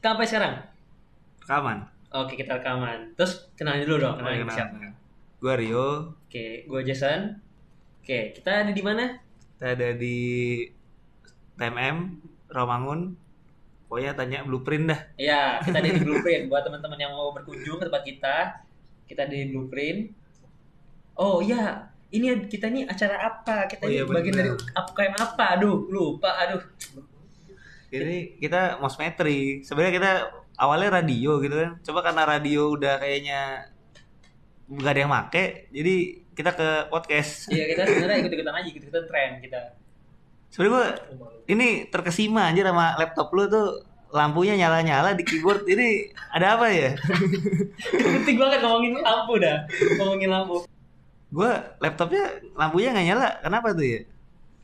sampai sekarang. Rekaman. Oke, kita rekaman. Terus kenalin dulu dong, kenalin Kenal- siapa. kenal. Gua Rio. Oke, gue Jason. Oke, kita ada di mana? Kita ada di TMM Romangun. Pokoknya tanya blueprint dah. Ya, kita ada di Blueprint. Buat teman-teman yang mau berkunjung ke tempat kita, kita ada di Blueprint. Oh iya, ini kita nih acara apa? Kita Oh, ini iya, bagian dari bener. UKM apa? Aduh, lupa. Aduh, Ini kita mosmetri. Sebenarnya kita awalnya radio gitu kan. Coba karena radio udah kayaknya nggak ada yang make, jadi kita ke podcast. iya kita sebenarnya ikut-ikutan aja, ikut-ikutan tren kita. Sebenarnya gua ini terkesima anjir sama laptop lu tuh lampunya nyala-nyala di keyboard. Ini ada apa ya? Penting banget ngomongin lampu dah, ngomongin lampu. Gua laptopnya lampunya nggak nyala. Kenapa tuh ya?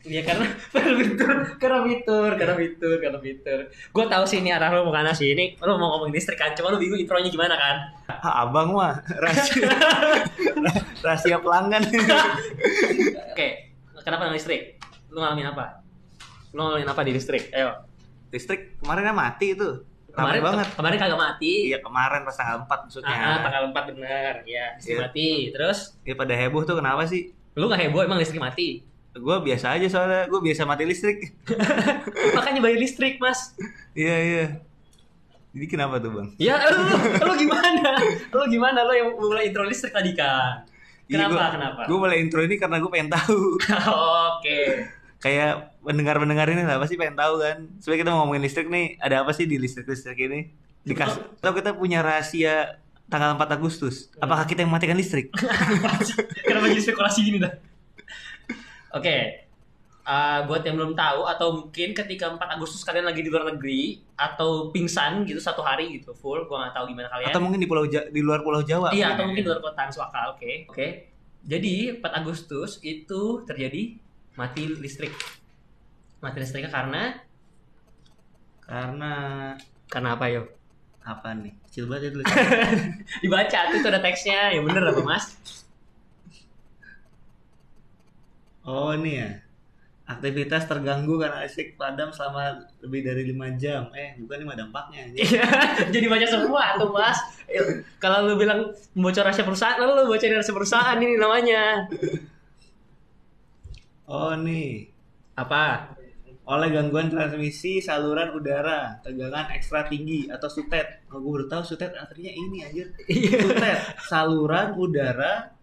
Iya karena karena fitur, karena fitur, karena fitur, karena fitur. Gue tahu sih ini arah lo mau karena sih ini lo mau ngomongin listrik kan, cuma lo bingung intronya gimana kan? Ah, abang mah rahasia, rahasia pelanggan. Oke, kenapa dengan listrik? Lo ngalamin apa? Lo ngalamin apa di listrik? Ayo. Listrik kemarin kan mati itu. Ramai Kemarin banget. Kemarin kagak mati. Iya kemarin pas tanggal 4 maksudnya. Ah, tanggal 4 benar, ya, listrik Iya. mati. Terus Ya pada heboh tuh kenapa sih? lu gak heboh emang listrik mati. Gue biasa aja soalnya gue biasa mati listrik. Makanya bayar listrik, Mas. Iya iya. Jadi kenapa tuh bang? Ya, lu, lu gimana? Lu gimana lo yang mulai intro listrik tadi kan? Iya, Kenapa? kenapa? Gue mulai intro ini karena gue pengen tahu. Oke. Kayak pendengar-pendengar ini lah pasti pengen tahu kan. Sebenarnya kita mau ngomongin listrik nih, ada apa sih di listrik-listrik ini? Dikas atau kita punya rahasia tanggal 4 Agustus. Apakah kita yang matikan listrik? Kenapa jadi spekulasi gini dah? Oke. Eh, buat yang belum tahu atau mungkin ketika 4 Agustus kalian lagi di luar negeri atau pingsan gitu satu hari gitu full, gua nggak tahu gimana kalian. Atau mungkin ya. di pulau Ja- di luar pulau Jawa. iya, atau mungkin di luar kota masuk akal, oke. Oke. Jadi 4 Agustus itu terjadi mati listrik. Mati listriknya karena Karena karena apa yo? apa nih? Kecil banget ya dulu. Dibaca tuh itu ada teksnya, ya bener apa mas? oh ini ya. Aktivitas terganggu karena listrik padam selama lebih dari 5 jam. Eh, bukan ini mah dampaknya. anjing. Iya, jadi baca semua tuh mas. Eh, Kalau lu bilang bocor rahasia perusahaan, lalu lu bocorin rahasia perusahaan ini namanya. Oh nih. Apa? Oleh gangguan transmisi saluran udara, tegangan ekstra tinggi atau sutet. Kalau gue baru tahu sutet artinya ini anjir. Iya. Sutet, saluran udara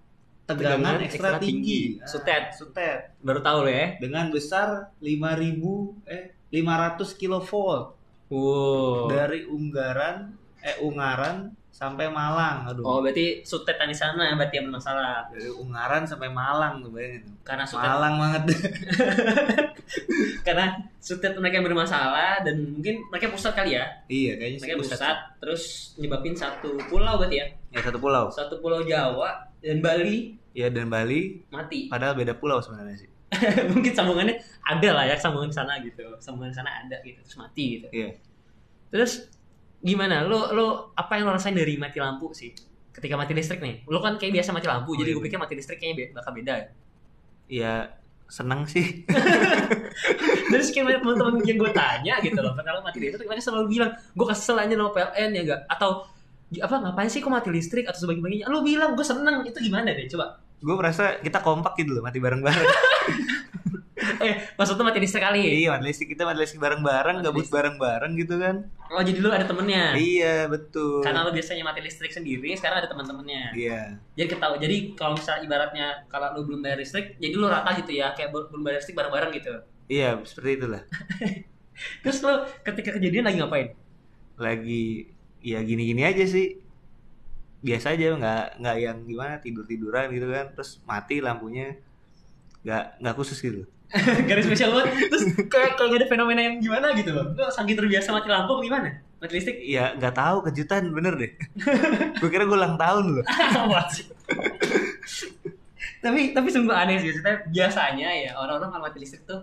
tegangan, ekstra, tinggi. Ah, Sutet. Sutet. Baru tahu lo ya. Dengan besar 5000 eh 500 kilovolt. Wow. dari Unggaran eh Ungaran sampai Malang aduh Oh berarti sutetan di sana berarti yang bermasalah dari Ungaran sampai Malang tuh bayangin karena sutet Malang banget karena sutet mereka yang bermasalah dan mungkin mereka pusat kali ya iya kayaknya sih mereka pusat. pusat terus nyebabin satu pulau berarti ya ya satu pulau satu pulau Jawa dan Bali ya dan Bali mati padahal beda pulau sebenarnya sih mungkin sambungannya ada lah ya sambungan sana gitu sambungan sana ada gitu terus mati gitu iya Terus gimana? Lo lo apa yang lo rasain dari mati lampu sih? Ketika mati listrik nih. Lo kan kayak biasa mati lampu, Oh, jadi iya, gue pikir mati listrik kayaknya be- bakal beda. ya. ya seneng sih Dari sekian banyak teman-teman yang gue tanya gitu loh, kalau mati listrik mereka selalu bilang, gue kesel aja sama PLN ya enggak atau "Gi- apa ngapain sih kok mati listrik atau sebagainya lo bilang gue seneng itu gimana deh coba gue merasa kita kompak gitu loh mati bareng-bareng eh maksudnya mati listrik kali iya mati listrik kita mati listrik bareng-bareng Mati gabut bareng-bareng gitu kan oh jadi lo ada temennya iya betul karena lo biasanya mati listrik sendiri sekarang ada teman-temannya iya jadi ketawa jadi kalau misalnya ibaratnya kalau lu belum bayar listrik jadi lu rata gitu ya kayak bel- belum bayar listrik bareng-bareng gitu iya seperti itulah terus lu ketika kejadian lagi ngapain lagi ya gini-gini aja sih biasa aja nggak nggak yang gimana tidur tiduran gitu kan terus mati lampunya nggak nggak khusus gitu garis spesial banget terus kayak kalau nggak ada fenomena yang gimana gitu loh lu saking terbiasa mati lampu apa gimana mati listrik ya nggak tahu kejutan bener deh gue kira gue ulang tahun loh What? tapi tapi sungguh aneh sih Maksudnya biasanya ya orang-orang kalau mati listrik tuh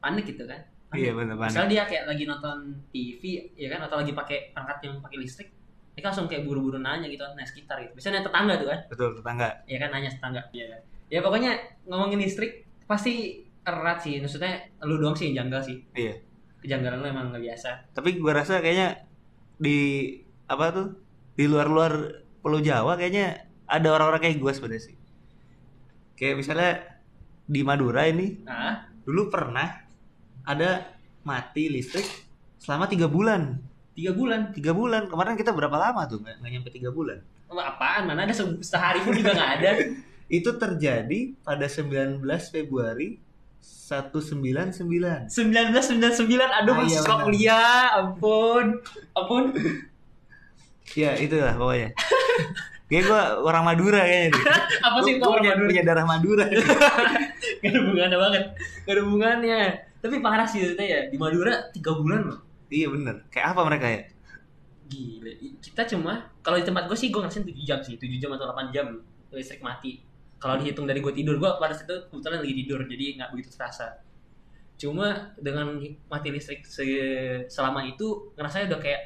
panik gitu kan iya bener banget Misalnya dia kayak lagi nonton TV ya kan atau lagi pakai perangkat yang pakai listrik mereka langsung kayak buru-buru nanya gitu nanya sekitar gitu biasanya nanya tetangga tuh kan betul tetangga ya kan nanya tetangga ya kan? ya pokoknya ngomongin listrik pasti erat sih maksudnya lu doang sih yang janggal sih Iya. kejanggalan lu emang nggak biasa tapi gue rasa kayaknya di apa tuh di luar-luar Pulau Jawa kayaknya ada orang-orang kayak gue sebenarnya sih. Kayak misalnya di Madura ini Nah, dulu pernah ada mati listrik selama tiga bulan. tiga bulan. Tiga bulan kemarin kita berapa lama tuh nggak nggak nyampe tiga bulan. Emang Apaan? Mana ada se- sehari pun juga nggak ada. Itu terjadi pada 19 Februari 1999, 199. aduh Ah, iya, masih suka benar. kuliah, ampun, ampun. Ya itulah pokoknya. Kayak gue orang Madura kayaknya deh. Apa sih itu orang Gua punya, Madura? punya darah Madura. Gak ada hubungannya banget, gak ada hubungannya. Tapi parah sih ternyata ya, di Madura tiga bulan loh. iya bener. Kayak apa mereka ya? Gila, i- kita cuma kalau di tempat gue sih gue ngerasain 7 jam sih, 7 jam atau 8 jam listrik mati. Kalau dihitung dari gue tidur, gue pada saat itu kebetulan lagi tidur, jadi nggak begitu terasa. Cuma dengan mati listrik se- selama itu ngerasanya udah kayak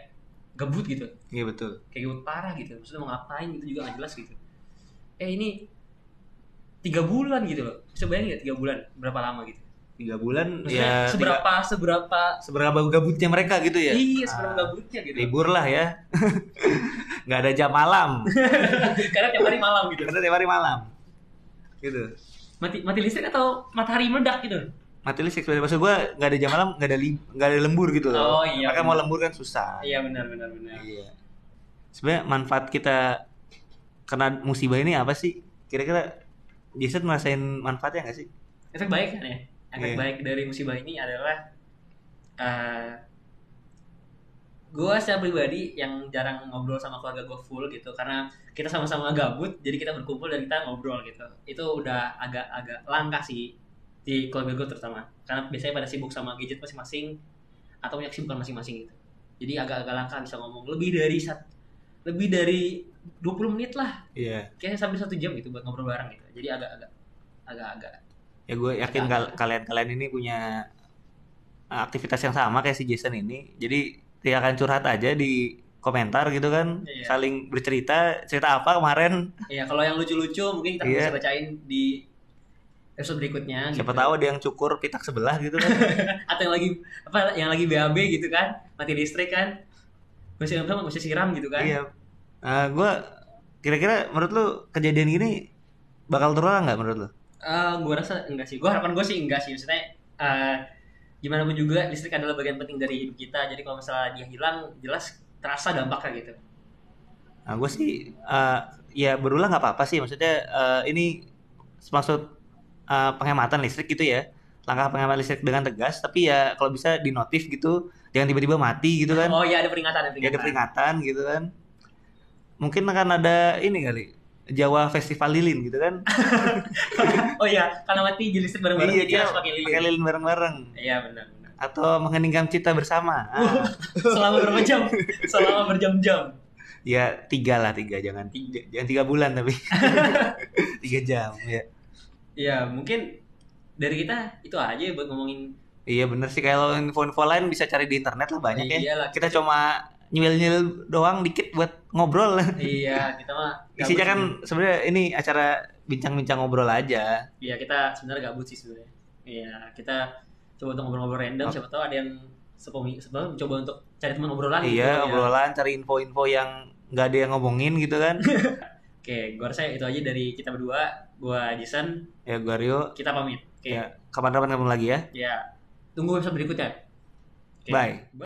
gebut gitu, Iya betul. kayak gebut parah gitu. Maksudnya mau ngapain gitu juga nggak jelas gitu. Eh ini tiga bulan gitu loh, bisa bayangin nggak tiga bulan berapa lama gitu? Tiga bulan Maksudnya ya seberapa seberapa tiga- seberapa gabutnya mereka gitu ya. iya seberapa Ah. gabutnya gitu? Libur lah ya. Nggak ada jam malam. Karena tiap hari malam gitu. Karena tiap hari malam. Gitu. mati mati listrik atau matahari meledak gitu Mati listrik sebenarnya maksud gue nggak ada jam malam, nggak ada li- nggak ada lembur gitu Oh, loh. iya, Mereka mau bener. lembur kan susah. iya benar benar benar Iya. Sebenarnya manfaat kita kena musibah ini apa sih? Kira-kira Jason merasain manfaatnya nggak sih? efek baik kan ya efek Iya. baik dari musibah ini adalah eh gue secara pribadi yang jarang ngobrol sama keluarga gue full gitu karena kita sama-sama gabut jadi kita berkumpul dan kita ngobrol gitu itu udah agak-agak langka sih di keluarga gue terutama karena biasanya pada sibuk sama gadget masing-masing atau punya kesibukan masing-masing gitu jadi agak-agak langka bisa ngomong lebih dari sat- lebih dari 20 menit lah Iya. kayaknya sampai satu jam gitu buat ngobrol bareng gitu jadi agak-agak agak-agak Ya gue yakin kal- kalian-kalian ini punya aktivitas yang sama kayak si Jason ini. Jadi silakan curhat aja di komentar gitu kan, Iya. saling bercerita cerita apa kemarin. ya kalau yang lucu-lucu mungkin kita Iya. bisa bacain di episode berikutnya Siapa gitu. tahu ada yang cukur pitak sebelah gitu kan. atau yang lagi apa yang lagi BAB gitu kan mati listrik kan masih siram masih siram gitu kan iya. Nah, gue kira-kira menurut lu kejadian gini bakal terulang nggak menurut lu? gue Eh, rasa enggak sih gue harapan gue sih enggak sih maksudnya eh, gimana pun juga listrik adalah bagian penting dari hidup kita jadi kalau misalnya dia hilang jelas terasa dampaknya gitu Nah, gue sih eh, ya berulang nggak apa-apa sih. Maksudnya eh, ini maksud eh, penghematan listrik gitu ya. Langkah penghematan listrik dengan tegas, tapi ya kalau bisa di notif gitu, jangan tiba-tiba mati gitu kan. oh iya ada peringatan ada Ya ada peringatan peringatan gitu kan. Mungkin akan ada ini kali. Jawa Festival Lilin gitu kan. oh iya karena mati jadi listrik bareng-bareng Iya, jadi dia harus pakai Pakai lilin lilin bareng-bareng iya benar benar atau mengheningkan cita bersama. Ah, selama berapa jam selama berjam-jam ya tiga lah tiga jangan Tiga. jangan tiga bulan tapi tiga jam ya. ya mungkin dari kita itu aja ya buat ngomongin Iya bener sih kalau info-info lain bisa cari di internet lah banyak ya. Iyalah. Kita cuma nyil-nyil doang dikit buat ngobrol. iya kita mah gabut Isinya kan sih. sebenarnya ini acara bincang-bincang ngobrol aja. iya kita sebenarnya gabut sih sebenarnya iya kita coba untuk ngobrol-ngobrol random Oh. siapa tahu ada yang sepomi sebelum coba untuk cari teman obrolan gitu iya ya. obrolan cari info-info yang nggak ada yang ngomongin gitu kan. oke gua rasa itu aja dari kita berdua gua Jason ya gua Rio. kita pamit oke Ya kapan-kapan ketemu lagi ya. ya tunggu episode berikutnya Oke. Bye.